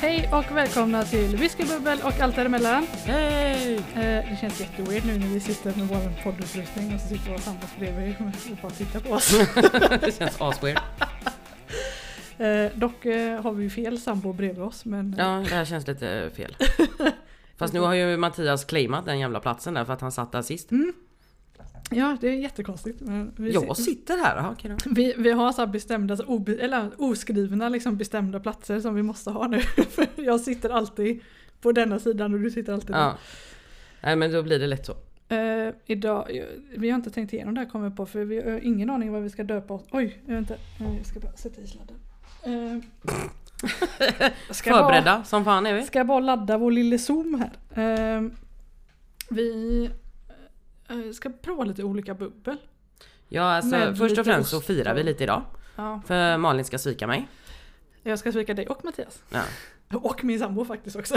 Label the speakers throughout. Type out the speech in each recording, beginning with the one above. Speaker 1: Hej och välkomna till Whiskybubbel och allt däremellan.
Speaker 2: Hej!
Speaker 1: Eh, det känns jätteweird nu när vi sitter med vår poddutrustning och så sitter våra sambos bredvid och bara tittar på oss.
Speaker 2: Det känns asweird.
Speaker 1: Eh, dock eh, har vi ju fel sambo bredvid oss men
Speaker 2: Ja, det här känns lite fel. Fast nu har ju Mattias claimat den jävla platsen där för att han satt där sist.
Speaker 1: Ja, det är jättekonstigt. Men vi,
Speaker 2: Jag sitter här, jaha okej då.
Speaker 1: vi, vi har så här bestämda, så obe, eller oskrivna liksom bestämda platser som vi måste ha nu. För jag sitter alltid på denna sidan och du sitter alltid där.
Speaker 2: Ja. Nej men då blir det lätt så.
Speaker 1: Eh, idag, eh, vi har inte tänkt igenom det här kommer jag på för vi har ingen aning vad vi ska döpa oss. Oj, jag, vet inte, Eh, jag ska bara sätta i sladden. Eh, jag ska
Speaker 2: Förberedda som fan är
Speaker 1: Bara,
Speaker 2: vi.
Speaker 1: ska bara ladda vår lille zoom här. Eh, vi eh, ska prova lite olika bubbel.
Speaker 2: Ja alltså
Speaker 1: Med
Speaker 2: först
Speaker 1: lite
Speaker 2: och främst så
Speaker 1: ost
Speaker 2: firar vi
Speaker 1: och-
Speaker 2: lite idag.
Speaker 1: Ja.
Speaker 2: För Malin ska svika mig.
Speaker 1: Jag ska svika dig och Mattias.
Speaker 2: Ja.
Speaker 1: Och min sambo faktiskt också.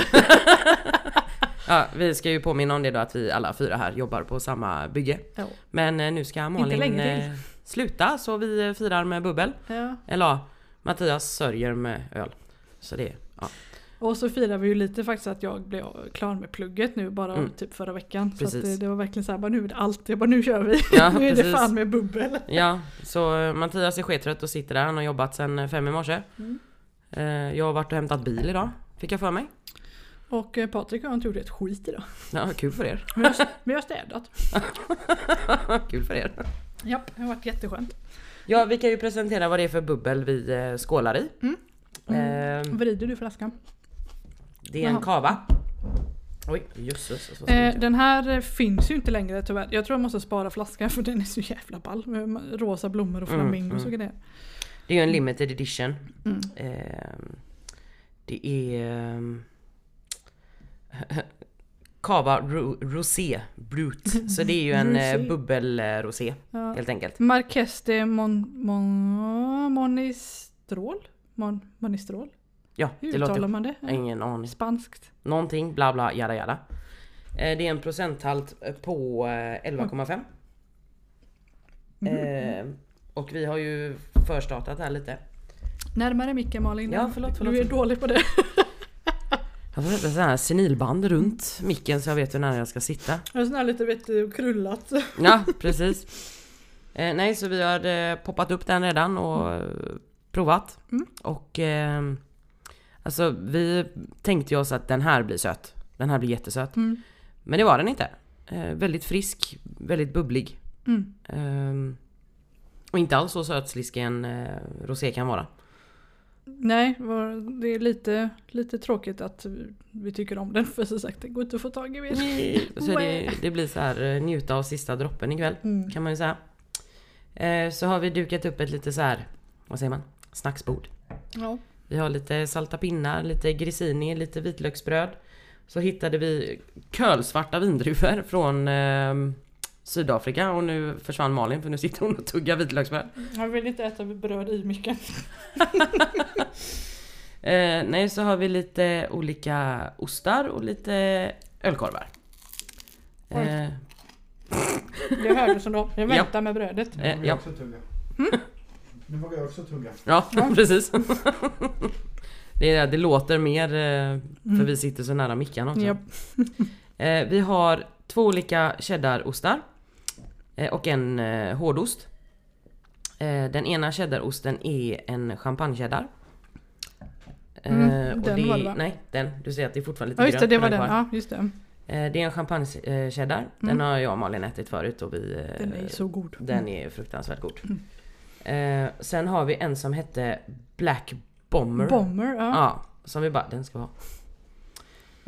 Speaker 2: ja, vi ska ju påminna om det då att vi alla fyra här jobbar på samma bygge.
Speaker 1: ja.
Speaker 2: Men eh, nu ska Malin
Speaker 1: länge
Speaker 2: eh, sluta så vi eh, firar med bubbel.
Speaker 1: Ja.
Speaker 2: Eller ja, Mattias sörjer med öl. Så det, ja.
Speaker 1: Och så firar vi ju lite faktiskt att jag blev klar med plugget nu bara
Speaker 2: Mm.
Speaker 1: typ förra veckan. Så att
Speaker 2: Precis.
Speaker 1: det, det var verkligen så här, bara nu är det allt. Jag bara nu kör vi.
Speaker 2: Ja,
Speaker 1: nu är det
Speaker 2: precis.
Speaker 1: fan med bubbel.
Speaker 2: Ja, så eh, Mattias är skettrött och sitter där. Han har jobbat sedan eh, fem i morse.
Speaker 1: Mm.
Speaker 2: Eh, Jag har varit och hämtat bil idag, fick jag för mig.
Speaker 1: Och eh, Patrik och jag inte gjorde ett skit idag.
Speaker 2: Ja, kul för er.
Speaker 1: Men jag, men jag har städat.
Speaker 2: kul för er.
Speaker 1: Japp, det har varit jätteskönt.
Speaker 2: Ja, vi kan ju presentera vad det är för bubbel vi eh, skålar i.
Speaker 1: Mm.
Speaker 2: Eh,
Speaker 1: Vrider du flaskan?
Speaker 2: Det är en
Speaker 1: Jaha.
Speaker 2: kava. Oj, jösses. så- så- så-
Speaker 1: Eh, den här eh, finns ju inte längre tyvärr. Jag tror jag måste spara flaskan för den är så jävla ball. Med Rosa blommor och
Speaker 2: Mm,
Speaker 1: flamingos och grejer.
Speaker 2: Det är ju en limited edition.
Speaker 1: Mm.
Speaker 2: Ehm, Det är... ehm, Kava ro- Rosé Brut. Så det är ju en eh,
Speaker 1: Rosé.
Speaker 2: bubbel-rosé
Speaker 1: Ja.
Speaker 2: helt enkelt.
Speaker 1: Marques de Mon, Mon, Monistrol? Mon, Monistrol?
Speaker 2: Ja,
Speaker 1: Hur
Speaker 2: det
Speaker 1: uttalar
Speaker 2: låter...
Speaker 1: man det?
Speaker 2: Ingen aning.
Speaker 1: Spanskt.
Speaker 2: Någonting, bla bla, jada jada. Eh, Det är en procenthalt eh, på eh, 11,5. Eh, Och vi har ju förstartat här lite.
Speaker 1: Närmare micken Malin.
Speaker 2: Ja, förlåt, förlåt.
Speaker 1: Du är dålig på det.
Speaker 2: Jag får sätta sådana här senilband runt micken så jag vet hur nära jag ska sitta.
Speaker 1: Jag är sån här lite vet du, krullat.
Speaker 2: Ja, precis. Eh, nej, så vi har eh, poppat upp den redan och eh, provat.
Speaker 1: Mm.
Speaker 2: Och eh, alltså vi tänkte ju oss att den här blir söt. Den här blir jättesöt.
Speaker 1: Mm.
Speaker 2: Men det var den inte. Eh, väldigt frisk, väldigt bubblig.
Speaker 1: Mm.
Speaker 2: Ehm, och inte alls så sötsliskig en eh, rosé kan vara.
Speaker 1: Nej, var- det är lite, lite tråkigt att vi- vi tycker om den för som sagt det går inte att få tag i mer.
Speaker 2: Så det, det blir så här eh, njuta av sista droppen ikväll
Speaker 1: Mm.
Speaker 2: kan man ju säga. Eh, så har vi dukat upp ett lite så här, vad säger man, snacksbord.
Speaker 1: Ja.
Speaker 2: Vi har lite salta pinnar, lite grissini, lite vitlöksbröd. Så hittade vi kölsvarta vindruvor från ehm, Sydafrika och nu försvann Malin för nu sitter hon och tuggar vitlöksbröd.
Speaker 1: Jag vill inte äta bröd i micken.
Speaker 2: Eh, nej, så har vi lite olika ostar och lite ölkorvar.
Speaker 1: Oj.
Speaker 2: Eh,
Speaker 1: Det hördes som då. Jag
Speaker 2: Ja.
Speaker 1: väntar med brödet.
Speaker 2: Eh,
Speaker 3: Nu vågar
Speaker 2: ja.
Speaker 3: jag också tugga. Nu vågar jag också tugga.
Speaker 2: ja,
Speaker 1: Ja.
Speaker 2: precis. det, är- det låter mer eh, för vi sitter så nära mickarna också.
Speaker 1: Mm. Japp.
Speaker 2: Eh, vi har två olika cheddarostar eh, och en eh, hårdost. Eh, den ena cheddarosten är en champagnecheddar. Eh,
Speaker 1: Mm,
Speaker 2: och
Speaker 1: den var det, va?
Speaker 2: Nej, den. Du ser att det är fortfarande lite
Speaker 1: Ja just det,
Speaker 2: grönt
Speaker 1: det
Speaker 2: på
Speaker 1: var den.
Speaker 2: kvar.
Speaker 1: Ja, just det.
Speaker 2: Eh, Det är en champagnecheddar. Den har jag och Malin ätit förut och vi... eh,
Speaker 1: Mm. Den är ju så Mm. god. Mm.
Speaker 2: den är fruktansvärt god. Eh, sen har vi en som hette Black Bomber.
Speaker 1: Bomber, ja.
Speaker 2: Ja, som vi bara, den ska vi ha.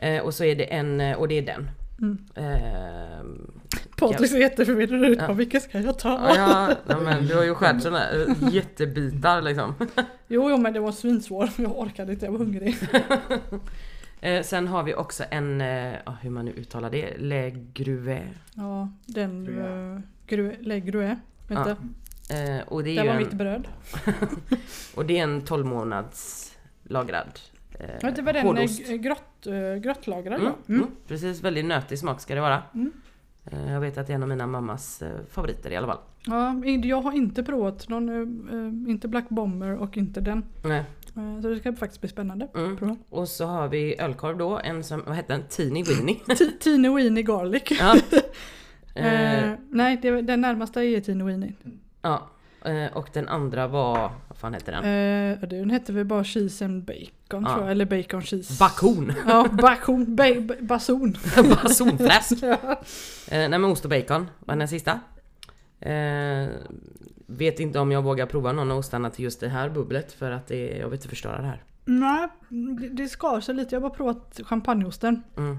Speaker 2: Eh, och så är det en, eh, och det är den.
Speaker 1: Mm.
Speaker 2: Eh,
Speaker 1: Patrik ser jätteförvirrad ut.
Speaker 2: Ja.
Speaker 1: Ja. Vilka ska jag ta?
Speaker 2: ja, ja, men du har ju skärt sådana här eh, jättebitar liksom.
Speaker 1: Jo, jo men det var svinsvår. Jag orkade inte, jag var hungrig.
Speaker 2: Eh, sen har vi också en, eh, ja, hur man nu uttalar det, Le Gruet.
Speaker 1: Ja, den...
Speaker 3: Gruyère.
Speaker 1: eh, Gruyère. Le Gruyère. Vänta,
Speaker 2: Ja, Eh, och det är
Speaker 1: där
Speaker 2: ju
Speaker 1: var
Speaker 2: en,
Speaker 1: mitt bröd.
Speaker 2: Och det är en 12 månads lagrad eh,
Speaker 1: Ja, det var den
Speaker 2: hårdost.
Speaker 1: eh, grott, eh, grottlagrad
Speaker 2: Mm,
Speaker 1: va?
Speaker 2: mm. Precis, väldigt nötig smak ska det vara.
Speaker 1: Mm.
Speaker 2: Eh, Jag vet att det är en av mina mammas eh, favoriter i alla fall.
Speaker 1: Ja, in- jag har inte provat någon, eh, eh, inte Black Bomber och inte den.
Speaker 2: Nej.
Speaker 1: Eh, Så det ska faktiskt bli spännande.
Speaker 2: Mm.
Speaker 1: Prova.
Speaker 2: Och så har vi ölkorv då, en som, vad hette den? Teeny Weeny.
Speaker 1: Ti- Teeny Weeny Garlic.
Speaker 2: ja.
Speaker 1: Eh,
Speaker 2: Eh,
Speaker 1: nej, det, den närmaste är Teeny Weeny.
Speaker 2: ja. Eh, och den andra var, vad fan hette den?
Speaker 1: Eh, och den hette väl bara Cheese and Bacon
Speaker 2: Ja.
Speaker 1: tror jag, eller Bacon Cheese.
Speaker 2: Bakon!
Speaker 1: Ja, bakon, ba, ba, bason.
Speaker 2: Basonfläsk!
Speaker 1: Ja.
Speaker 2: Eh, nej men ost och bacon var den sista. Eh, vet inte om jag vågar prova någon av ostarna till just det här bubblet för att det, jag vill inte förstöra det här.
Speaker 1: Nej, det- det skar sig lite. Jag har bara provat champagneosten.
Speaker 2: Mm.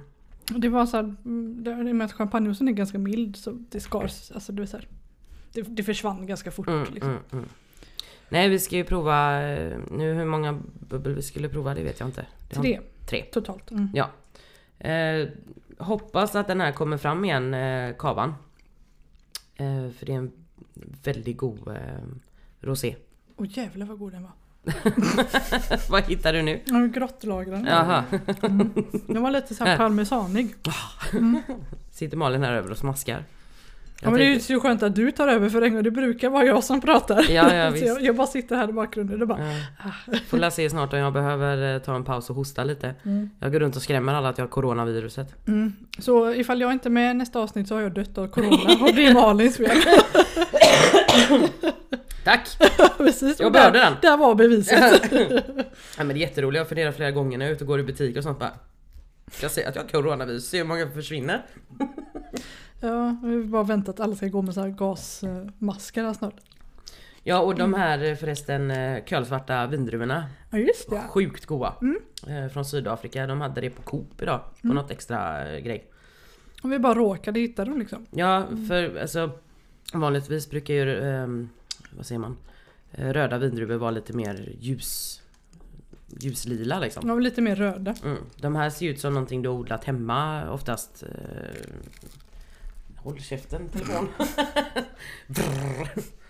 Speaker 1: Det var så här, mm, det- i och med att champagneosten är ganska mild så det skar sig. Alltså, det, är så här, det, det försvann ganska fort.
Speaker 2: Mm,
Speaker 1: liksom.
Speaker 2: mm, mm. Nej vi ska ju prova, eh, nu hur många bubbel vi skulle prova det vet jag inte. Det har-
Speaker 1: Tre
Speaker 2: Tre.
Speaker 1: totalt. Mm.
Speaker 2: Eh, hoppas att den här kommer fram igen, eh, kavan. Eh, för det är en väldigt god eh, rosé.
Speaker 1: Och jävlar vad god den var.
Speaker 2: Vad hittar du nu?
Speaker 1: Ja, grottlagrad.
Speaker 2: Jaha,
Speaker 1: Mm. Den var lite så här parmesanig.
Speaker 2: Ah. sitter Malin här över och smaskar.
Speaker 1: Ja,
Speaker 2: Jag
Speaker 1: men det är ju
Speaker 2: tänkte-
Speaker 1: så skönt att du tar över för en gång. Det brukar vara jag som pratar.
Speaker 2: Ja, ja,
Speaker 1: så
Speaker 2: visst.
Speaker 1: jag, jag bara sitter här i bakgrunden och bara... Ah.
Speaker 2: Ja. Får la se snart om jag behöver eh, ta en paus och hosta lite.
Speaker 1: Mm.
Speaker 2: Jag går runt och skrämmer alla att jag har coronaviruset.
Speaker 1: Mm. Så ifall jag inte är med i nästa avsnitt så har jag dött av corona och det är Malins fel.
Speaker 2: Tack!
Speaker 1: Precis.
Speaker 2: Jag
Speaker 1: Och där-
Speaker 2: behövde den.
Speaker 1: Där var beviset.
Speaker 2: Ja, men det är jätteroligt, jag funderar flera gånger när jag är ute och går i butik och sånt bara. Ska jag säga att jag har coronavirus? Se hur många som försvinner.
Speaker 1: Ja, vi bara väntar att alla ska gå med så här gasmasker här snart.
Speaker 2: Ja och de här eh, förresten eh, kölsvarta vindruvorna.
Speaker 1: Ja just det.
Speaker 2: Sjukt goda. Eh, Från Sydafrika. De hade det på Coop idag. På något extra eh, grej.
Speaker 1: Om vi bara råkade hitta dem liksom.
Speaker 2: Ja för alltså vanligtvis brukar ju ehm, vad säger man? Eh, Röda vindruvor vara lite mer ljus ljuslila
Speaker 1: De
Speaker 2: liksom.
Speaker 1: var lite mer röda.
Speaker 2: Mm. De här ser ju ut som någonting du har odlat hemma oftast. Eh... Håll käften telefon. Brrr.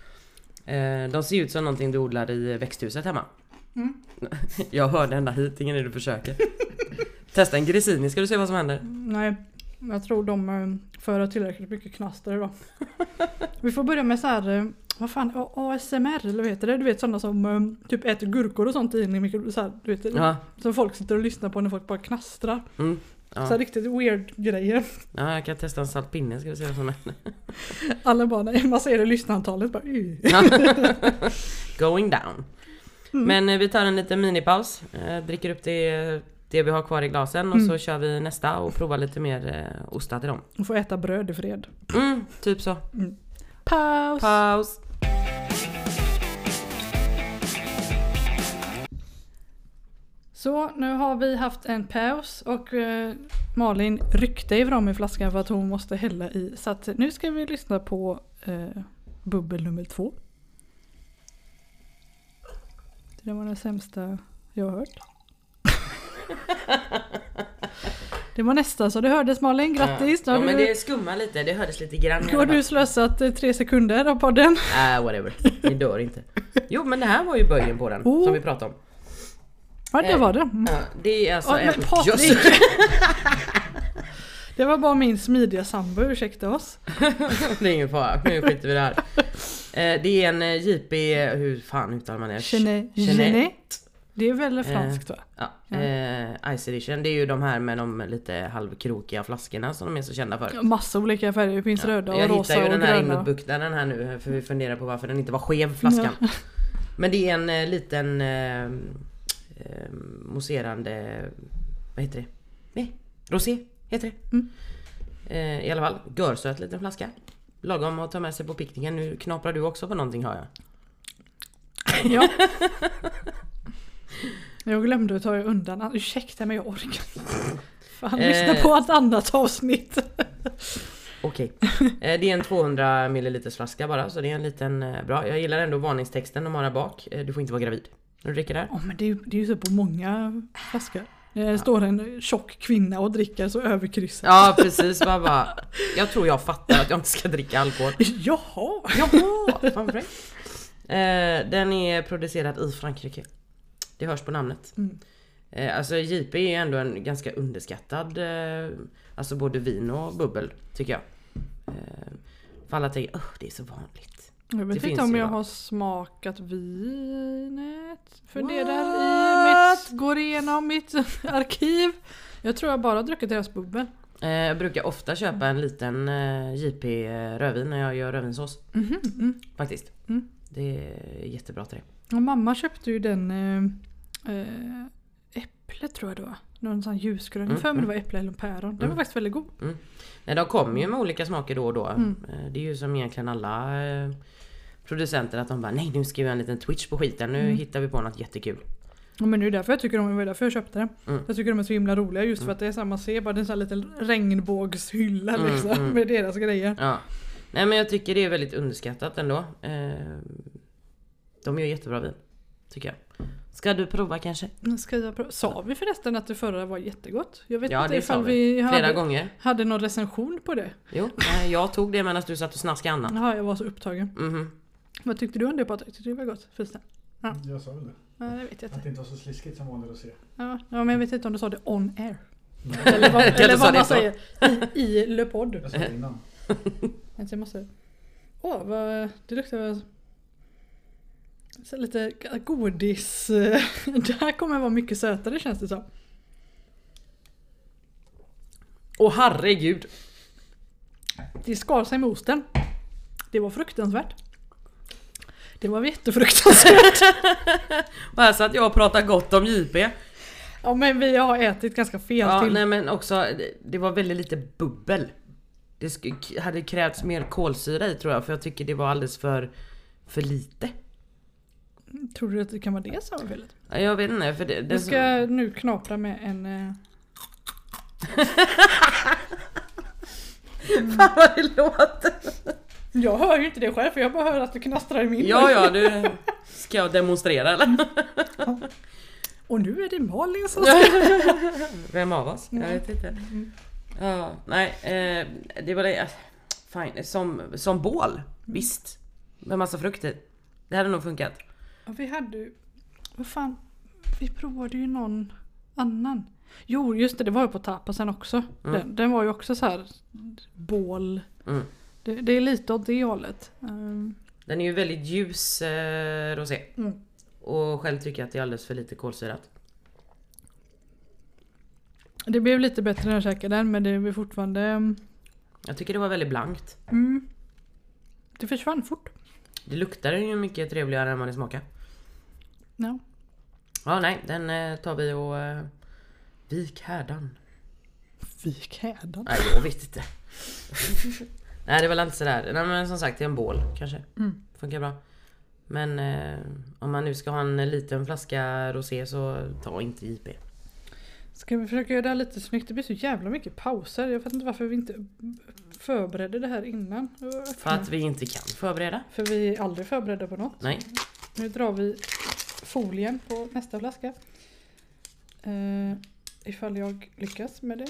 Speaker 2: Eh, De ser ju ut som någonting du odlar i växthuset hemma.
Speaker 1: Mm.
Speaker 2: Jag hörde ända hit, ingen är du försöker. Testa en grissini ska du se vad som händer.
Speaker 1: Nej, jag tror de eh, för tillräckligt mycket knaster idag. vi får börja med så här, eh, vad fan, A- ASMR eller vad heter det? Du vet sådana som eh, typ äter gurkor och sånt in i mikro... Så här, du vet,
Speaker 2: Ja,
Speaker 1: Som folk sitter och lyssnar på när folk bara knastrar.
Speaker 2: mm.
Speaker 1: Så här
Speaker 2: ja.
Speaker 1: riktigt weird grejer.
Speaker 2: ja jag kan testa en salt pinne ska du se vad som händer.
Speaker 1: Alla bara, nej, man ser det i lyssnarantalet bara "Ugh."
Speaker 2: Ja. Going down.
Speaker 1: Mm.
Speaker 2: Men eh, vi tar en liten minipaus, eh, dricker upp det, det vi har kvar i glasen och
Speaker 1: Mm.
Speaker 2: så kör vi nästa och provar lite mer eh, ostar till dem.
Speaker 1: Och får äta bröd i fred.
Speaker 2: Mm, typ så.
Speaker 1: Paus!
Speaker 2: Paus.
Speaker 1: Så nu har vi haft en paus och eh, Malin ryckte ifrån i flaskan för att hon måste hälla i. Så att nu ska vi lyssna på eh, bubbel nummer två. Det var den sämsta jag har hört. Det var nästan så det hördes Malin, grattis! Då
Speaker 2: Ja,
Speaker 1: har
Speaker 2: men
Speaker 1: du,
Speaker 2: det skummar lite, det hördes lite grann i
Speaker 1: då har
Speaker 2: alla
Speaker 1: du
Speaker 2: fall.
Speaker 1: slösat eh, tre sekunder av podden.
Speaker 2: Äh, whatever. Det dör inte. Jo men det här var ju böjen på den
Speaker 1: Oh.
Speaker 2: som vi pratade om.
Speaker 1: Ja det
Speaker 2: Eh,
Speaker 1: var det. Mm.
Speaker 2: Ja, det är alltså
Speaker 1: Ja,
Speaker 2: en...
Speaker 1: men Patrik!
Speaker 2: Just-
Speaker 1: Det var bara min smidiga sambo, ursäkta oss.
Speaker 2: det är ingen fara, nu skiter vi i det här. Eh, Det är en eh, JP, hur fan uttalar man det?
Speaker 1: Eh, Genet.
Speaker 2: Genet. Eh.
Speaker 1: Det är väl franskt va?
Speaker 2: Ja, eh, Ice Edition, det är ju de här med de lite halvkrokiga flaskorna som de är så kända för.
Speaker 1: Massa olika färger, det finns röda och
Speaker 2: jag
Speaker 1: rosa
Speaker 2: hittar ju
Speaker 1: och
Speaker 2: den här
Speaker 1: gröna.
Speaker 2: inmutbuktaren här nu för vi funderar på varför den inte var skev flaskan. Men det är en eh, liten eh, eh, mousserande, vad heter det? Nej, rosé heter det.
Speaker 1: Mm.
Speaker 2: Eh, I alla fall, görsöt liten flaska. Lagom att ta med sig på picknicken. Nu knaprar du också på någonting hör jag.
Speaker 1: Ja. Jag glömde att ta undan, ursäkta men jag orkar inte. Fan,
Speaker 2: Eh.
Speaker 1: lyssna på ett annat avsnitt.
Speaker 2: Okej. Eh, Det är en 200 ml flaska bara så det är en liten eh, bra. Jag gillar ändå varningstexten de har där bak. Eh, Du får inte vara gravid när du dricker det här.
Speaker 1: Ja men det är, ju- det är ju så på många flaskor. Det står en tjock kvinna och dricker så överkryssar.
Speaker 2: Ja precis, bara, bara, jag tror jag fattar att jag inte ska dricka alkohol.
Speaker 1: Jaha!
Speaker 2: Jaha! Fan vad eh, Den är producerad i Frankrike. Det hörs på namnet.
Speaker 1: Mm.
Speaker 2: Eh, alltså JP är ju ändå en ganska underskattad, eh, alltså både vin och bubbel tycker jag. Eh, för alla tänker, "Åh, det är så vanligt.
Speaker 1: Jag vet
Speaker 2: finns
Speaker 1: inte om
Speaker 2: ju,
Speaker 1: jag
Speaker 2: va?
Speaker 1: har smakat vinet. För det
Speaker 2: What?
Speaker 1: där i mitt, går igenom mitt arkiv. Jag tror jag bara har druckit deras bubbel.
Speaker 2: Eh, jag brukar ofta köpa en liten eh, JP rödvin när jag gör rödvinssås.
Speaker 1: Mhm, mm.
Speaker 2: Faktiskt.
Speaker 1: Mm.
Speaker 2: Det är jättebra till det.
Speaker 1: Och mamma köpte ju den eh, eh, äpple tror jag det var. Någon sån ljusgrön. Jag har
Speaker 2: Mm,
Speaker 1: för mig det var äpple eller päron. Den var
Speaker 2: Mm.
Speaker 1: faktiskt väldigt god.
Speaker 2: Nej, de kommer ju med olika smaker då och då.
Speaker 1: Mm.
Speaker 2: Eh, Det är ju som egentligen alla eh, producenter att de bara nej nu ska vi göra en liten twitch på skiten, nu
Speaker 1: Mm.
Speaker 2: hittar vi på något jättekul.
Speaker 1: Ja, men det är därför jag tycker om det var därför jag köpte den.
Speaker 2: Mm.
Speaker 1: Jag tycker de är så himla roliga just för att det är samma ser bara det är en sån här liten regnbågshylla
Speaker 2: Mm,
Speaker 1: liksom,
Speaker 2: mm.
Speaker 1: med deras grejer.
Speaker 2: Ja. Nej men jag tycker det är väldigt underskattat ändå. Eh, De gör jättebra vin. Tycker jag. Ska du prova kanske?
Speaker 1: Nu Ska jag prova- sa vi förresten att det förra var jättegott? Jag vet
Speaker 2: Ja,
Speaker 1: inte
Speaker 2: det sa
Speaker 1: ifall vi,
Speaker 2: vi. Flera
Speaker 1: hade,
Speaker 2: gånger.
Speaker 1: hade någon recension på det.
Speaker 2: Jo, eh, jag tog det medan du satt och snaskade Anna.
Speaker 1: Jaha, jag var så upptagen.
Speaker 2: Mhm.
Speaker 1: Vad tyckte du om det Patrik? Tyckte du det var gott? Förresten? Ja.
Speaker 3: Jag sa väl det.
Speaker 1: Nej, det vet jag
Speaker 3: Att
Speaker 1: inte.
Speaker 3: det inte var så sliskigt som vanligt att se.
Speaker 1: Ja, ja, men jag vet inte om du sa det on air.
Speaker 3: Nej,
Speaker 1: Eller vad,
Speaker 2: Kan du
Speaker 1: eller
Speaker 2: sa
Speaker 1: vad
Speaker 2: det
Speaker 1: man
Speaker 2: så?
Speaker 1: säger i, i Le Pod.
Speaker 3: jag sa det innan.
Speaker 1: Vänta, Jag måste... Åh, vad, det luktar... Så här lite godis. Det här kommer vara mycket sötare känns det som.
Speaker 2: Åh herregud!
Speaker 1: Det skar sig med osten. Det var fruktansvärt. Det var jättefruktansvärt.
Speaker 2: Och här satt jag och pratade gott om JP.
Speaker 1: Ja men vi har ätit ganska fel
Speaker 2: Ja,
Speaker 1: till.
Speaker 2: nej men också, det- det var väldigt lite bubbel. Det sk- k- hade krävts mer kolsyra i tror jag, för jag tycker det var alldeles för, för lite.
Speaker 1: Tror du att det kan vara det som var felet?
Speaker 2: Ja, Jag vet inte, för det... det
Speaker 1: Jag ska nu knapra med en... eh,
Speaker 2: Fan vad det låter!
Speaker 1: Jag hör ju inte det själv för jag bara hör att det knastrar i min
Speaker 2: Ja,
Speaker 1: mun.
Speaker 2: ja, du... Ska jag demonstrera eller?
Speaker 1: Och nu är det Malin som
Speaker 2: Vem av oss? Jag
Speaker 1: Mm.
Speaker 2: vet inte. Ja, nej, eh, det var det... Fine. Som, som bål, visst. Med massa frukt i. Det hade nog funkat.
Speaker 1: Ja, vi hade ju... Vad fan? Vi provade ju någon annan. Jo, just det. Det var ju på tapasen också. Den, den var ju också så här bål.
Speaker 2: Mm.
Speaker 1: Det, det är lite åt det hållet. Ehm,
Speaker 2: Den är ju väldigt ljus eh, rosé.
Speaker 1: Mm.
Speaker 2: Och själv tycker jag att det är alldeles för lite kolsyrat.
Speaker 1: det blev lite bättre när jag käkade den men det blev fortfarande...
Speaker 2: Jag tycker det var väldigt blankt.
Speaker 1: Mm, det försvann fort.
Speaker 2: Det luktade ju mycket trevligare än vad det smakade.
Speaker 1: Ja.
Speaker 2: Ja nej, den eh, tar vi och... Eh, vik härdan.
Speaker 1: Fik hädan.
Speaker 2: Nej jag vet inte. nej det var väl inte sådär. Nej men som sagt det är en bål kanske.
Speaker 1: Mm.
Speaker 2: Funkar bra. Men eh, om man nu ska ha en liten flaska rosé så ta inte JP.
Speaker 1: Ska vi försöka göra det här lite snyggt? Det blir så jävla mycket pauser. Jag fattar inte varför vi inte förberedde det här innan.
Speaker 2: För att vi inte kan förbereda.
Speaker 1: För vi är aldrig förberedda på något.
Speaker 2: Nej.
Speaker 1: Nu drar vi folien på nästa flaska. Eh, ifall jag lyckas med det.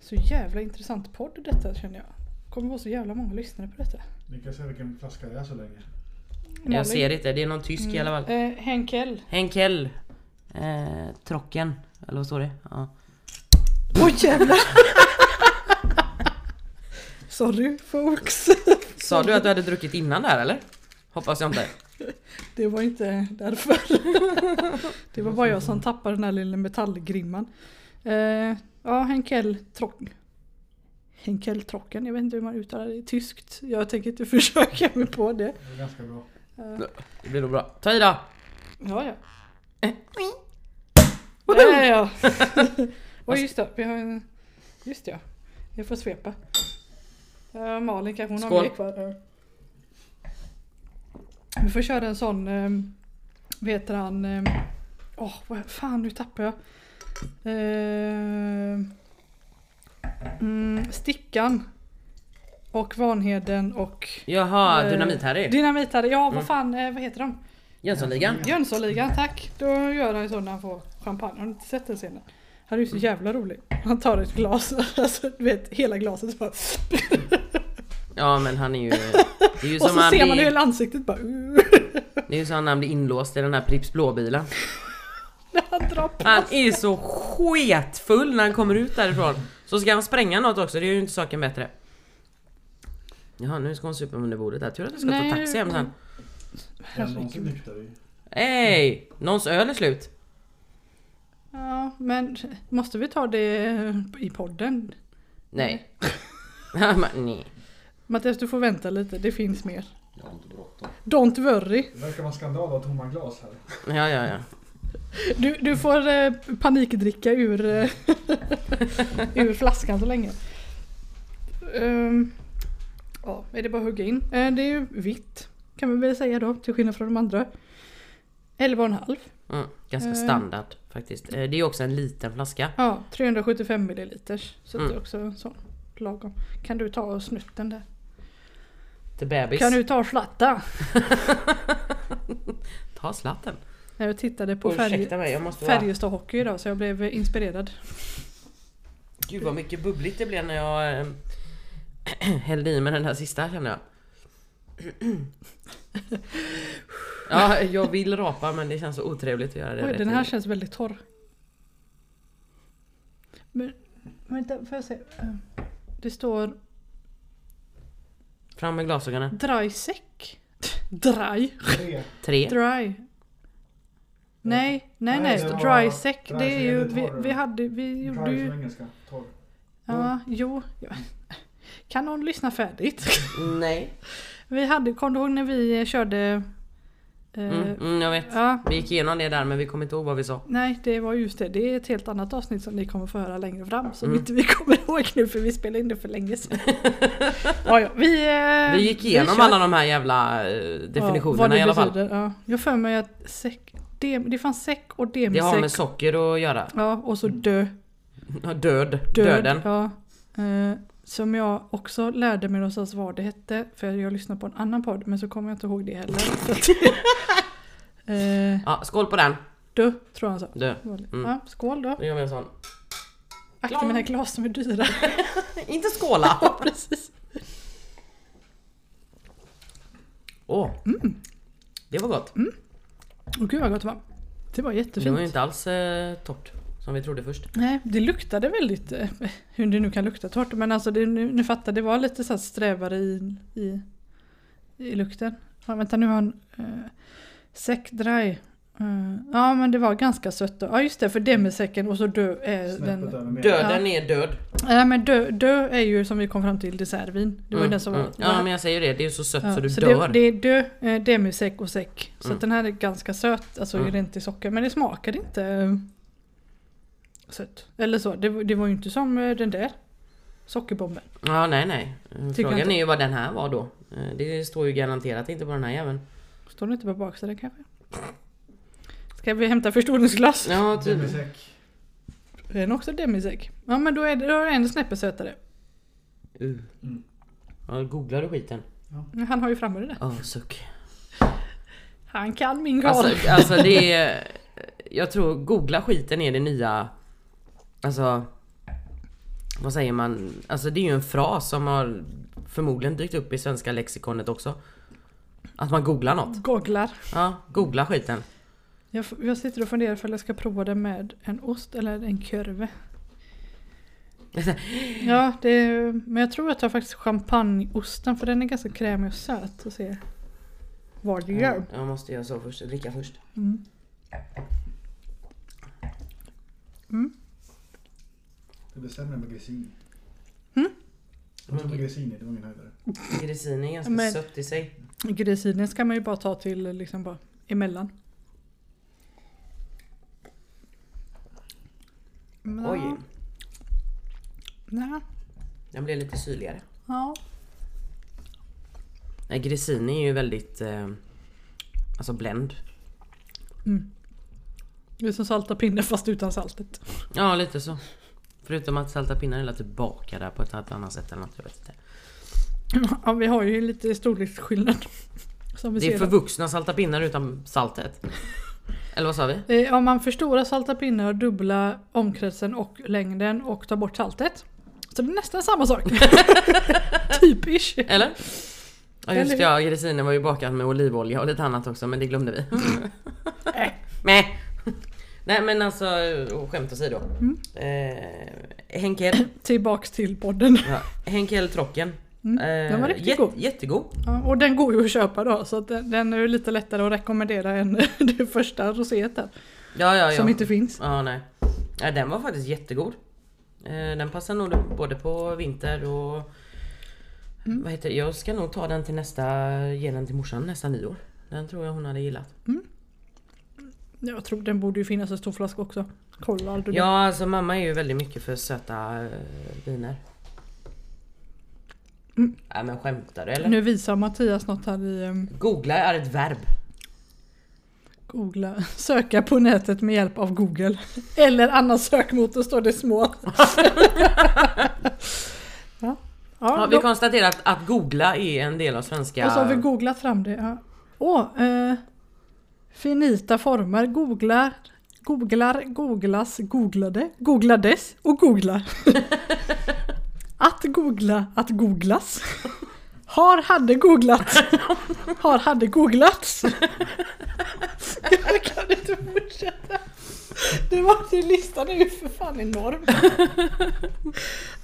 Speaker 1: Så jävla intressant podd detta känner jag. Kommer vara så jävla många lyssnare på detta.
Speaker 3: Ni kan se vilken flaska det är så länge.
Speaker 1: Malin.
Speaker 2: Jag ser inte, det är någon tysk i alla fall.
Speaker 1: Eh, Henkel.
Speaker 2: Henkel. Eh, trocken. Eller vad står det? Ja.
Speaker 1: Åh jävlar! Sorry folks.
Speaker 2: Sa du att du hade druckit innan där eller? Hoppas jag inte.
Speaker 1: Det var inte därför. Det var bara jag som tappade den här lilla metallgrimman. Eh, ja, Henkel Trocken. Henkel Trocken, jag vet inte hur man uttalar det i tyskt. Jag tänker inte försöka mig på det.
Speaker 3: Det är ganska bra.
Speaker 1: Eh,
Speaker 2: Det blir nog bra. Ta i då!
Speaker 1: ja, ja.
Speaker 2: Woho!
Speaker 1: Ja, ja, ja. Oj, just det. Vi har en... Just det, ja. Jag får svepa. Uh, Malin kanske hon
Speaker 2: Skål.
Speaker 1: har mer kvar. Ja. Vi får köra en sån... Um, vet han... ehm, Åh, vad fan nu tappar jag. Ehm, mm, stickan. Och Vanheden och...
Speaker 2: Jaha,
Speaker 1: eh,
Speaker 2: Dynamit-Harry.
Speaker 1: Dynamit-Harry. Ja,
Speaker 2: Mm.
Speaker 1: vad fan, eh, vad heter de?
Speaker 2: Jönssonligan.
Speaker 1: Jönssonligan, tack. Då gör han ju så när han får champagne. Har du inte sett den scenen? Han är
Speaker 2: Mm.
Speaker 1: ju så jävla rolig. Han tar ett glas, alltså, du vet hela glaset bara,
Speaker 2: Ja men han är ju... Det är ju
Speaker 1: Och
Speaker 2: som
Speaker 1: så
Speaker 2: han
Speaker 1: ser man ju
Speaker 2: blir,
Speaker 1: hela ansiktet bara
Speaker 2: det är ju som när han blir inlåst i den här Pripps blåbilen.
Speaker 1: när han drar på.
Speaker 2: Han är så sketfull när han kommer ut därifrån. Så ska han spränga något också, det är ju inte saken bättre. Jaha, nu ska hon supa under bordet där. Tur att du ska
Speaker 1: Nej.
Speaker 2: ta taxi hem sen.
Speaker 3: Är det någon som
Speaker 1: Herregud.
Speaker 3: nykter i?
Speaker 2: Hej! Någons öl är slut.
Speaker 1: Ja, men måste vi ta det i podden?
Speaker 2: Nej. Men, Nej.
Speaker 1: Mattias, du får vänta lite. Det finns mer.
Speaker 4: Jag har inte bråttom.
Speaker 1: Don't worry.
Speaker 3: Det verkar vara skandal av tomma glas här.
Speaker 2: Ja, ja, ja.
Speaker 1: Du, du får eh, panikdricka ur, eh, ur flaskan så länge. Ehm, ja, är det bara att hugga in? Eh, det är ju vitt kan vi väl säga då, till skillnad från de andra. 11,5.
Speaker 2: Mm, ganska
Speaker 1: Eh.
Speaker 2: standard faktiskt. Eh, Det är ju också en liten flaska.
Speaker 1: Ja, 375 milliliters. Så det är
Speaker 2: Mm.
Speaker 1: också en sån lagom. Kan du ta snutten där?
Speaker 2: Till bebis.
Speaker 1: Kan du ta slatta?
Speaker 2: Ta slatten.
Speaker 1: När jag tittade på färg,
Speaker 2: Ursäkta mig, jag måste vara...
Speaker 1: Färjestad Hockey idag så jag blev inspirerad.
Speaker 2: Gud vad mycket bubbligt det blev när jag eh, hällde i mig den här sista känner jag. Ja, jag vill rapa men det känns så otrevligt att göra det.
Speaker 1: Oj,
Speaker 2: rätt
Speaker 1: den här
Speaker 2: in.
Speaker 1: känns väldigt torr. Men, vänta, får jag se? Eh, Det står
Speaker 2: Fram med glasögonen.
Speaker 1: dry sec. Dry?
Speaker 3: Tre.
Speaker 2: Tre.
Speaker 1: Dry. Nej, nej,
Speaker 3: Nej,
Speaker 1: nej.
Speaker 3: det var-
Speaker 1: Dry sec,
Speaker 3: dry
Speaker 1: det är
Speaker 3: sec,
Speaker 1: ju...
Speaker 3: det
Speaker 1: Vi,
Speaker 3: tar du.
Speaker 1: vi hade... Vi
Speaker 3: Dry
Speaker 1: gjorde ju...
Speaker 3: från engelska. Torr.
Speaker 1: Ja, jo. ja. Kan någon lyssna färdigt?
Speaker 2: Nej.
Speaker 1: Vi hade... Kom du ihåg när vi eh, körde... eh,
Speaker 2: Mm, mm, jag vet.
Speaker 1: Ja,
Speaker 2: Vi gick igenom det där men vi kommer inte ihåg vad vi sa.
Speaker 1: Nej, det var just det. Det är ett helt annat avsnitt som ni kommer få höra längre fram. Som
Speaker 2: Mm.
Speaker 1: inte vi kommer ihåg nu för vi spelade in det för länge sedan. ja, ja, vi, eh,
Speaker 2: Vi gick igenom
Speaker 1: kör-
Speaker 2: alla de här jävla eh,
Speaker 1: Ja,
Speaker 2: definitionerna
Speaker 1: vad det
Speaker 2: i alla fall.
Speaker 1: betyder, Ja. Jag för mig att säck, dem, det fanns säck och
Speaker 2: Det har med
Speaker 1: demisäck.
Speaker 2: socker att göra.
Speaker 1: Ja, och så dö,
Speaker 2: Ja, Död.
Speaker 1: död.
Speaker 2: Döden.
Speaker 1: Ja. Eh, som jag också lärde mig någonstans vad det hette. För jag lyssnade på en annan podd men så kommer jag inte ihåg det heller. Så att- eh,
Speaker 2: Ja, skål på den.
Speaker 1: dö, tror jag han sa.
Speaker 2: Dö. Mm.
Speaker 1: Ja, skål då.
Speaker 2: Nu gör vi en sån.
Speaker 1: Akta mina glas som är dyra.
Speaker 2: Inte skåla!
Speaker 1: Ja, precis.
Speaker 2: Åh!
Speaker 1: Mm.
Speaker 2: Det var gott.
Speaker 1: Och gud vad gott det var. Mm, Det var
Speaker 2: Det
Speaker 1: jättefint.
Speaker 2: var ju inte alls eh, torrt som vi trodde först.
Speaker 1: Nej, det luktade väldigt, eh, hur det nu kan lukta torrt, men alltså det, nu, nu fattar det var lite så här strävare i, i, i lukten. Ja, vänta nu har han eh, säck dry. Eh, ja men det var ganska sött då. Ja just det, för demisäcken och så dö är
Speaker 3: Snäppet
Speaker 1: den.
Speaker 3: över mer.
Speaker 2: Döden är död.
Speaker 1: Nej men dö, dö är ju som vi kom fram till dessertvin. Det var ju
Speaker 2: Mm,
Speaker 1: den som
Speaker 2: mm.
Speaker 1: var.
Speaker 2: Ja men jag säger ju det, det är ju så sött
Speaker 1: Ja,
Speaker 2: så du
Speaker 1: så
Speaker 2: dör.
Speaker 1: Det, det är dö, eh, demisäck och säck. Så
Speaker 2: Mm.
Speaker 1: att den här är ganska söt, alltså
Speaker 2: Mm.
Speaker 1: rent i socker. Men det smakade inte eh, sött. Eller så, det, var- det var ju inte som eh, den där sockerbomben.
Speaker 2: Ja nej nej. Eh,
Speaker 1: jag
Speaker 2: Frågan
Speaker 1: inte.
Speaker 2: är ju vad den här var då. Eh, Det står ju garanterat inte på den här jäveln.
Speaker 1: Står det inte på baksidan kanske? Ska vi hämta förstoringsglas?
Speaker 2: Ja typ.
Speaker 3: Demisäck.
Speaker 1: Är den också demisäck? Ja men då är det då är det en snäppe sötare.
Speaker 2: Uh.
Speaker 3: Mm.
Speaker 2: Ja, googlar du skiten?
Speaker 1: Han har ju framme det där.
Speaker 2: Ja suck.
Speaker 1: Han kan min gal.
Speaker 2: Alltså, alltså det är... Jag tror googla skiten är det nya... Alltså... Vad säger man? Alltså det är ju en fras som har förmodligen dykt upp i svenska lexikonet också. Att man googlar något.
Speaker 1: Googlar.
Speaker 2: Ja, googla skiten.
Speaker 1: Jag, f- jag sitter och funderar ifall jag ska prova det med en ost eller en kurve. Ja, det är, men jag tror att jag tar faktiskt champagneosten för den är ganska krämig och söt och se vad det gör.
Speaker 2: Jag måste göra så först, dricka först.
Speaker 1: Mm.
Speaker 3: Det blir sämre med grissini.
Speaker 1: Mm?
Speaker 3: Jag tog grissini, det var min höjdare.
Speaker 2: Grissini är ganska
Speaker 1: Men-
Speaker 2: sött i sig.
Speaker 1: Grisinen ska man ju bara ta till liksom bara emellan. Nå,
Speaker 2: Oj,
Speaker 1: nå,
Speaker 2: den blev lite syrligare.
Speaker 1: ja.
Speaker 2: Nej, grissini är ju väldigt... Eh, alltså bländ.
Speaker 1: Det är som salta pinnar fast utan saltet.
Speaker 2: Ja, lite så. Förutom att salta pinnar är lite tillbaka där på ett annat sätt eller något, jag vet inte.
Speaker 1: Ja, vi har ju lite storleksskillnad. Som vi
Speaker 2: Det är
Speaker 1: ser
Speaker 2: för vuxna salta pinnar utan saltet. Eller vad sa vi?
Speaker 1: Eh, Om man förstorar salta pinnar och dubbla omkretsen och längden och tar bort saltet. Så det är nästan samma sak. Typisch.
Speaker 2: Eller? Ja
Speaker 1: Eller
Speaker 2: just
Speaker 1: hur?
Speaker 2: det, ja, grissinen var ju bakad med olivolja och lite annat också men det glömde vi.
Speaker 1: Mm. Äh.
Speaker 2: Nej. Nej men alltså, och skämt åsido. Mm. Eh, Henkel,
Speaker 1: Tillbaks till podden.
Speaker 2: ja, Henkel Trocken
Speaker 1: Mm. Den var
Speaker 2: Eh,
Speaker 1: riktigt
Speaker 2: jät-
Speaker 1: god.
Speaker 2: Jättegod.
Speaker 1: Ja, och den går ju att köpa då så att den, den är ju lite lättare att rekommendera än det första roséet där.
Speaker 2: Ja, ja, ja.
Speaker 1: Som inte finns.
Speaker 2: Ja, nej. Ja, den var faktiskt jättegod. Eh, Den passar nog både på vinter och...
Speaker 1: Mm.
Speaker 2: Vad heter det? Jag ska nog ta den till nästa... Ge den till morsan nästa nyår. Den tror jag hon hade gillat.
Speaker 1: Jag tror den borde ju finnas en stor flaska också. Kolla aldrig det.
Speaker 2: Ja, alltså mamma är ju väldigt mycket för söta eh, viner.
Speaker 1: Mm.
Speaker 2: Nej men skämtar du eller?
Speaker 1: Nu visar Mattias något här i ehm,
Speaker 2: Googla är ett verb.
Speaker 1: Googla. Söka på nätet med hjälp av Google. Eller annan sökmotor står det i små. ja.
Speaker 2: Ja,
Speaker 1: Ja,
Speaker 2: vi
Speaker 1: då-
Speaker 2: konstaterar att, att googla är en del av svenska...
Speaker 1: Och så har vi googlat fram det. ja. Åh! eh, finita former. Googlar, googlar, googlas, googlade, googlades och googlar. att googla, att googlas. Har, hade googlat. Har, hade googlats. Jag kan inte fortsätta. Det var det listan är ju för fan enorm.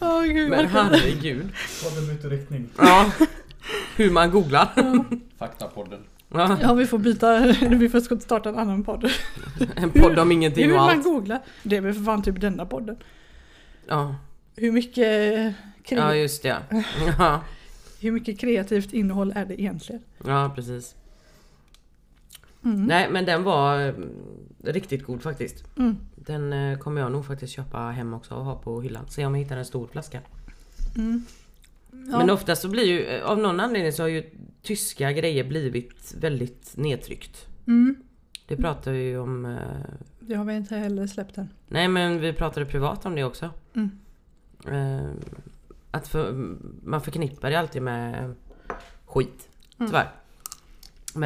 Speaker 1: Åh gud.
Speaker 2: Men
Speaker 1: jag kan-
Speaker 2: herregud.
Speaker 3: Podden byter riktning.
Speaker 2: Ja. Hur man googlar.
Speaker 4: Faktapodden.
Speaker 2: Ja.
Speaker 1: Ja vi får byta, vi får starta en annan podd.
Speaker 2: En podd om ingenting
Speaker 1: Hur
Speaker 2: och
Speaker 1: man
Speaker 2: allt.
Speaker 1: googlar. Det är väl för fan typ denna podden.
Speaker 2: Ja.
Speaker 1: Hur mycket, eh, kre-
Speaker 2: ja, just det. Ja,
Speaker 1: hur mycket kreativt innehåll är det egentligen?
Speaker 2: ja precis.
Speaker 1: Mm.
Speaker 2: Nej men den var mm, riktigt god faktiskt.
Speaker 1: Mm.
Speaker 2: Den eh, kommer jag nog faktiskt köpa hem också och ha på hyllan. Se om jag hittar en stor flaska.
Speaker 1: Mm. Ja.
Speaker 2: Men oftast så blir ju, eh, av någon anledning så har ju tyska grejer blivit väldigt nedtryckt.
Speaker 1: Mm.
Speaker 2: Det pratar vi ju om... eh,
Speaker 1: Det har vi inte heller släppt än.
Speaker 2: Nej men vi pratade privat om det också.
Speaker 1: Mm.
Speaker 2: Eh, Att för, man förknippar det alltid med skit. Tyvärr. Men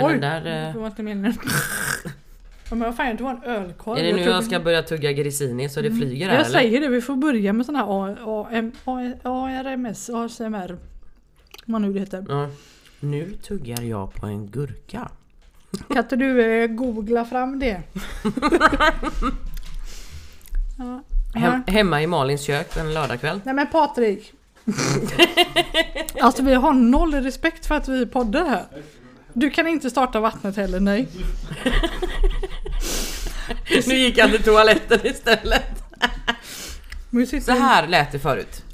Speaker 1: Mm. Oj.
Speaker 2: den där... eh,
Speaker 1: Det var inte meningen. Ja, Men vad fan, det var en ölkorv.
Speaker 2: Är det nu
Speaker 1: tror-
Speaker 2: jag ska börja tugga grissini så det flyger här
Speaker 1: Mm. Jag
Speaker 2: eller?
Speaker 1: säger det, vi får börja med sån här A- A- M- A- ARMS, ASMR. Vad nu det heter.
Speaker 2: Ja. Nu tuggar jag på en gurka.
Speaker 1: Kan inte du eh, googla fram det? ja.
Speaker 2: Hem, hemma i Malins kök en lördagkväll.
Speaker 1: Nej men Patrik! alltså vi har noll respekt för att vi poddar här. Du kan inte starta vattnet heller, nej.
Speaker 2: Nu gick jag till toaletten istället.
Speaker 1: Men, vi sitter-
Speaker 2: Så här lät det förut.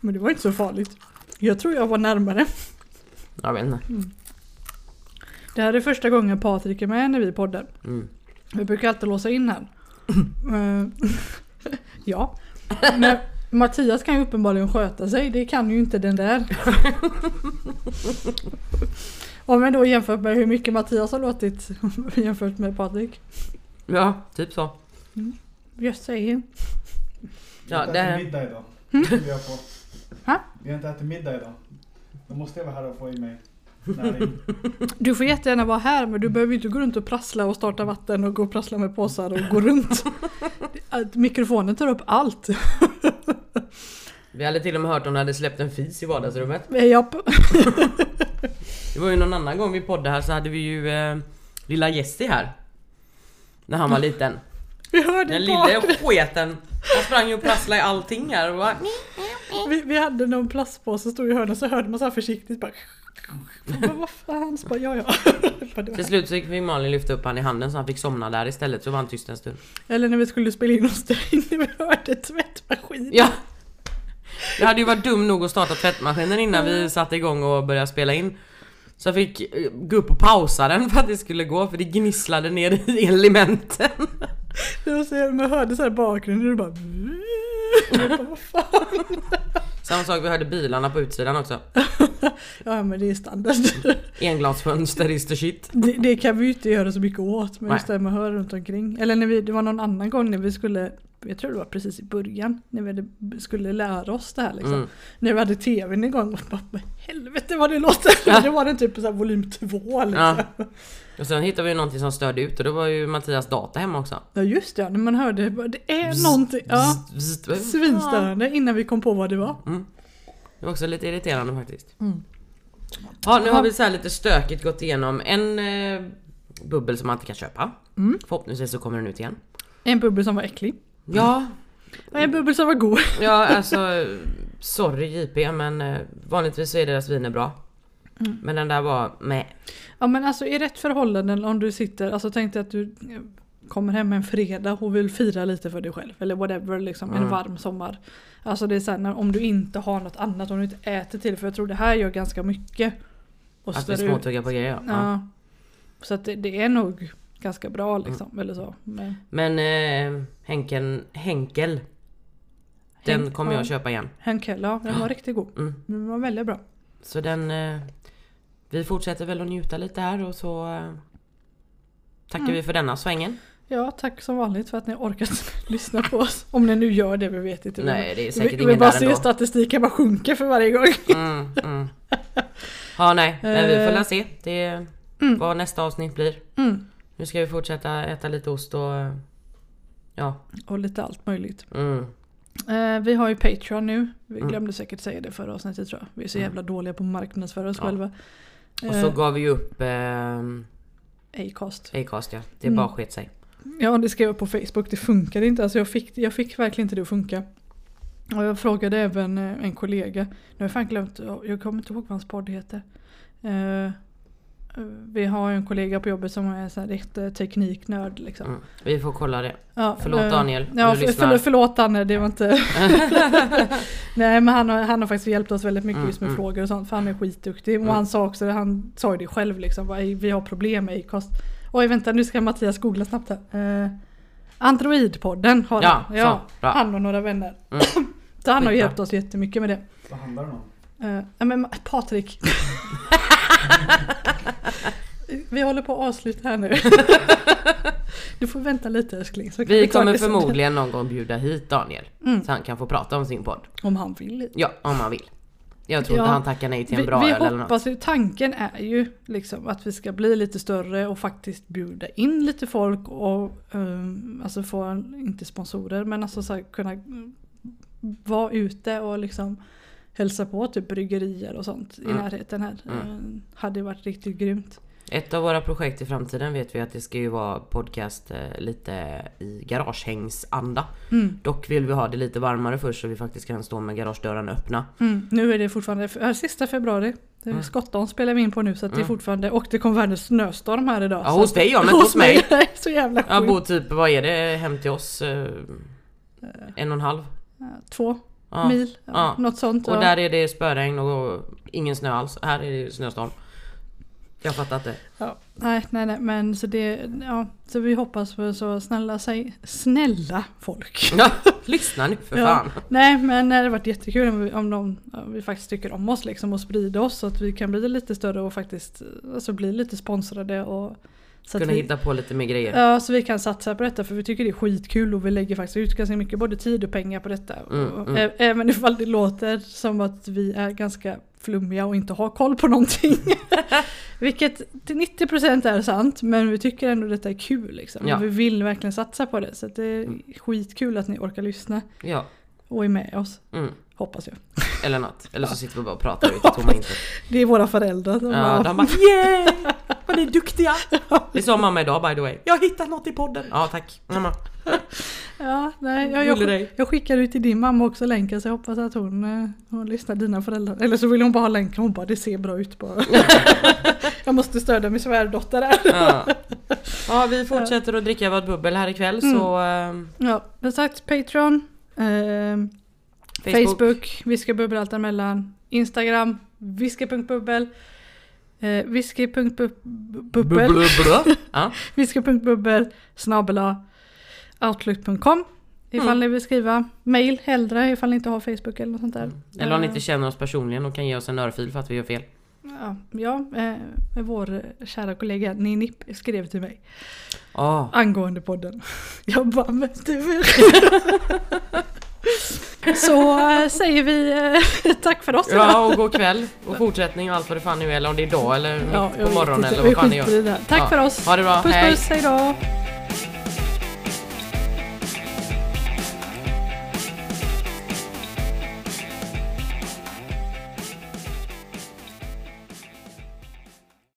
Speaker 1: men det var inte så farligt. Jag tror jag var närmare.
Speaker 2: Jag vet inte.
Speaker 1: Det här är första gången Patrik är med när vi poddar.
Speaker 2: Mm.
Speaker 1: Vi brukar alltid låsa in här. Eh, ja. Men Mattias kan ju uppenbarligen sköta sig, det kan ju inte den där. Om man då jämfört med hur mycket Mattias har låtit jämfört med Patrik.
Speaker 2: Ja, typ så.
Speaker 1: Jag säger.
Speaker 2: Ja,
Speaker 3: vi har inte
Speaker 2: det-
Speaker 3: ätit middag idag. Vi har, på.
Speaker 1: Ha?
Speaker 3: vi har inte ätit middag idag. Då måste jag vara här och få i mig näring.
Speaker 1: Du får jättegärna vara här men du behöver ju inte gå runt och prassla och starta vatten och gå och prassla med påsar och gå runt. Att Mikrofonen tar upp allt.
Speaker 2: Vi hade till och med hört om du hade släppt en fis i vardagsrummet.
Speaker 1: Japp.
Speaker 2: Det var ju någon annan gång vi poddade här så hade vi ju eh, lilla Jesse här. När han var liten.
Speaker 1: Vi hörde
Speaker 2: Den
Speaker 1: Patrik.
Speaker 2: lille sketen. Han sprang ju och prasslade i allting här och bara...
Speaker 1: Vi, vi hade någon plastpåse som stod i hörnet så hörde man så här försiktigt bara Men vad fan, så bara, ja ja. Vad det var.
Speaker 2: Till slut så fick Malin lyfta upp han i handen så han fick somna där istället så var han tyst en stund.
Speaker 1: Eller när vi skulle spela in hos dig, när vi hörde tvättmaskinen.
Speaker 2: Ja! Jag hade ju varit dum nog att starta tvättmaskinen innan
Speaker 1: Mm.
Speaker 2: vi satte igång och började spela in. Så jag fick eh, gå upp och pausa den för att det skulle gå för det gnisslade ner i elementen.
Speaker 1: Det var så, jävla- man hörde så här i bakgrunden och det bara Jag bara, vad fan.
Speaker 2: Samma sak, vi hörde bilarna på utsidan också.
Speaker 1: Ja men det är standard.
Speaker 2: Englasfönster is the shit.
Speaker 1: Det, det kan vi ju inte göra så mycket åt men
Speaker 2: Nej.
Speaker 1: just det här med att höra runt omkring. Eller när vi, det var någon annan gång när vi skulle jag tror det var precis i början när vi hade, skulle lära oss det här liksom.
Speaker 2: Mm.
Speaker 1: När vi hade tvn igång och bara "Men helvete vad det låter!
Speaker 2: Ja.
Speaker 1: Då var den typ på så här volym 2 liksom.
Speaker 2: Ja.
Speaker 1: ja.
Speaker 2: Och sen hittade vi ju någonting som störde ut och då var ju Mattias data hemma också.
Speaker 1: just det, ja, när man hörde bara, det är någonting. Ja.
Speaker 2: Bzzt, bzzt.
Speaker 1: Svinstörande innan vi kom på vad det var.
Speaker 2: Mm. Det var också lite irriterande faktiskt.
Speaker 1: Mm.
Speaker 2: Ja, nu
Speaker 1: Ja.
Speaker 2: har vi så här lite stökigt gått igenom en eh, bubbel som man inte kan köpa.
Speaker 1: Mm.
Speaker 2: Förhoppningsvis så kommer den ut igen.
Speaker 1: En bubbel som var äcklig.
Speaker 2: Ja,
Speaker 1: Och en bubbel som var god.
Speaker 2: ja alltså Sorry JP men eh, vanligtvis så är deras viner bra.
Speaker 1: Mm.
Speaker 2: Men den där var med.
Speaker 1: Ja men alltså i rätt förhållanden om du sitter, alltså tänk dig att du eh, kommer hem en fredag och vill fira lite för dig själv eller whatever liksom en
Speaker 2: Mm.
Speaker 1: varm sommar. Alltså det är såhär när- om du inte har något annat, om du inte äter till för jag tror det här gör ganska mycket. Och
Speaker 2: Att vi
Speaker 1: stör ut.
Speaker 2: småtuggar på grejer. Ja. Mm.
Speaker 1: Ja. Så att det, det är nog ganska bra liksom eller så. Men,
Speaker 2: Men eh, Henken, Henkel. Den
Speaker 1: Henk-
Speaker 2: kommer
Speaker 1: ja.
Speaker 2: jag köpa igen.
Speaker 1: Henkel, ja den var riktigt god.
Speaker 2: Mm.
Speaker 1: Den var väldigt bra.
Speaker 2: Så den... Eh, vi fortsätter väl att njuta lite här och så eh, tackar
Speaker 1: Mm.
Speaker 2: vi för denna svängen.
Speaker 1: Ja tack som vanligt för att ni orkat lyssna på oss. Om ni nu gör det, vi vet inte.
Speaker 2: Nej det är
Speaker 1: vi,
Speaker 2: säkert
Speaker 1: vi
Speaker 2: ingen
Speaker 1: bara
Speaker 2: där
Speaker 1: ser
Speaker 2: ändå.
Speaker 1: statistiken bara sjunker för varje gång.
Speaker 2: Mm, mm. Ja nej, men vi får
Speaker 1: Eh.
Speaker 2: väl se. Det är
Speaker 1: Mm.
Speaker 2: vad nästa avsnitt blir.
Speaker 1: Mm.
Speaker 2: Nu ska vi fortsätta äta lite ost och... eh, Ja.
Speaker 1: Och lite allt möjligt.
Speaker 2: Mm.
Speaker 1: Eh, vi har ju Patreon nu. Vi
Speaker 2: Mm.
Speaker 1: glömde säkert säga det förra avsnittet tror jag. Vi är så
Speaker 2: Mm.
Speaker 1: jävla dåliga på att marknadsföra oss
Speaker 2: Ja.
Speaker 1: själva.
Speaker 2: Och så
Speaker 1: Eh,
Speaker 2: gav vi upp ehm,
Speaker 1: Acast.
Speaker 2: Acast ja. Det
Speaker 1: Mm.
Speaker 2: bara sket sig.
Speaker 1: Ja, det skrev jag på Facebook. Det funkade inte. Alltså jag fick, jag fick verkligen inte det att funka. Och jag frågade även eh, en kollega. Nu har jag fan glömt. Jag kommer inte ihåg vad hans podd heter. Eh, vi har ju en kollega på jobbet som är en sån här riktig tekniknörd liksom.
Speaker 2: Mm. Vi får kolla det.
Speaker 1: Ja,
Speaker 2: Förlåt
Speaker 1: eh,
Speaker 2: Daniel om
Speaker 1: Ja,
Speaker 2: du
Speaker 1: för,
Speaker 2: lyssnar.
Speaker 1: förlåt, förlåt Danne, det var inte... Nej men han har, han har faktiskt hjälpt oss väldigt mycket
Speaker 2: Mm,
Speaker 1: just med
Speaker 2: mm.
Speaker 1: frågor och sånt för han är skitduktig. Och
Speaker 2: Mm.
Speaker 1: han sa också det, han sa ju det själv liksom, bara, "Ey, vi har problem med Acast. Oj vänta nu ska Mattias googla snabbt här. Eh, Androidpodden har
Speaker 2: Ja,
Speaker 1: han. Ja,
Speaker 2: så, bra.
Speaker 1: han och några vänner.
Speaker 2: Mm.
Speaker 1: Så han har
Speaker 2: Skitbra.
Speaker 1: hjälpt oss jättemycket med det.
Speaker 3: Vad handlar det om?
Speaker 1: Eh, ja, men Ma- Patrik. vi håller på att avsluta här nu. du får vänta lite älskling. så kan
Speaker 2: Vi
Speaker 1: ta
Speaker 2: kommer
Speaker 1: det sen.
Speaker 2: förmodligen någon gång bjuda hit Daniel.
Speaker 1: Mm,
Speaker 2: Så han kan få prata om sin podd.
Speaker 1: om han vill.
Speaker 2: Ja, om han vill. Jag tror
Speaker 1: Ja.
Speaker 2: inte han tackar nej till en
Speaker 1: Vi,
Speaker 2: bra
Speaker 1: vi
Speaker 2: öl eller något.
Speaker 1: hoppas ju, tanken är ju liksom att vi ska bli lite större och faktiskt bjuda in lite folk och um, alltså få, en- inte sponsorer men alltså så här, kunna mm, vara ute och liksom hälsa på typ bryggerier och sånt i
Speaker 2: Mm.
Speaker 1: närheten här.
Speaker 2: Mm.
Speaker 1: Eh, hade ju varit riktigt grymt.
Speaker 2: Ett av våra projekt i framtiden vet vi att det ska ju vara podcast eh, lite i garagehängsanda.
Speaker 1: Mm,
Speaker 2: Dock vill vi ha det lite varmare först så vi faktiskt kan stå med garagedörren öppna.
Speaker 1: mm. Nu är det fortfarande f- äh, sista februari. Det är
Speaker 2: Mm.
Speaker 1: Skottdagen spelar vi in på nu så att det är
Speaker 2: Mm.
Speaker 1: fortfarande och det kom världens snöstorm här idag.
Speaker 2: Ja,
Speaker 1: så
Speaker 2: hos
Speaker 1: att-
Speaker 2: dig ja, men inte hos mig.
Speaker 1: mig. så jävla sjukt.
Speaker 2: Jag bor typ, vad är det hem till oss? Eh, En och en halv?
Speaker 1: Eh, Två
Speaker 2: Ja.
Speaker 1: mil, ja,
Speaker 2: ja.
Speaker 1: något sånt.
Speaker 2: Och
Speaker 1: ja.
Speaker 2: där är det spöregn och ingen snö alls. Här är det ju snöstorm. Jag fattar inte.
Speaker 1: Ja. Nej, nej, nej, men så det, ja, så vi hoppas på så snälla, säg, snälla folk.
Speaker 2: Ja, lyssna nu för
Speaker 1: Ja.
Speaker 2: fan.
Speaker 1: Nej, men det hade varit jättekul om, vi, om de ja, vi faktiskt tycker om oss liksom och sprider oss så att vi kan bli lite större och faktiskt alltså, bli lite sponsrade och så
Speaker 2: Kunna
Speaker 1: att vi,
Speaker 2: hitta på lite mer grejer.
Speaker 1: Ja, så vi kan satsa på detta för vi tycker det är skitkul och vi lägger faktiskt ut ganska mycket både tid och pengar på detta.
Speaker 2: Mm,
Speaker 1: Och
Speaker 2: mm.
Speaker 1: ä- Även ifall det låter som att vi är ganska flummiga och inte har koll på någonting. Vilket till 90% är sant men vi tycker ändå detta är kul liksom.
Speaker 2: Ja.
Speaker 1: Och Vi vill verkligen satsa på det så att det är
Speaker 2: Mm.
Speaker 1: skitkul att ni orkar lyssna
Speaker 2: Ja.
Speaker 1: och är med oss.
Speaker 2: Mm.
Speaker 1: Hoppas jag.
Speaker 2: Eller något. Eller så sitter vi bara och pratar ut i tomma intet.
Speaker 1: Det är våra föräldrar som
Speaker 2: Ja, de bara yeah! Vad ni är duktiga! Det sa mamma idag by the way. Jag har hittat något i podden. Ja tack Mm. mamma.
Speaker 1: ja, nej, jag,
Speaker 2: Gillar
Speaker 1: jag,
Speaker 2: dig.
Speaker 1: jag skickar ut till din mamma också länken så jag hoppas att hon, eh, hon lyssnar dina föräldrar. Eller så vill hon bara ha länken, hon bara det ser bra ut bara. jag måste stödja min svärdotter där.
Speaker 2: Ja. ja vi fortsätter att dricka vårt bubbel här ikväll
Speaker 1: Mm.
Speaker 2: så ehm,
Speaker 1: Ja, som sagt Patreon, ehm,
Speaker 2: Facebook.
Speaker 1: Facebook, Whiskybubbel allt emellan, Instagram, whisky.bubbel, eh, whisky.bubbel,
Speaker 2: Bubbel. Ja.
Speaker 1: whisky.bubbel, snabela, outlook.com ifall
Speaker 2: Mm.
Speaker 1: ni vill skriva. Mail hellre ifall ni inte har Facebook eller något sånt där.
Speaker 2: Eller om ni
Speaker 1: Eh,
Speaker 2: inte känner oss personligen och kan ge oss en örfil för att vi gör fel.
Speaker 1: Ja, ja eh, vår kära kollega Ninip skrev till mig
Speaker 2: Ja.
Speaker 1: angående podden. Jag bara, men du. Så eh, säger vi eh, tack för oss idag.
Speaker 2: Ja och god kväll och fortsättning och allt vad det fan nu är. Eller om det är idag eller
Speaker 1: Ja, jag
Speaker 2: mitt på
Speaker 1: vet
Speaker 2: morgonen
Speaker 1: inte.
Speaker 2: eller
Speaker 1: Vi
Speaker 2: vad fan det
Speaker 1: skiter i
Speaker 2: gör.
Speaker 1: det här. Tack
Speaker 2: Ja.
Speaker 1: för oss.
Speaker 2: Ha det bra,
Speaker 1: Puss
Speaker 2: hej!
Speaker 1: puss, hej då.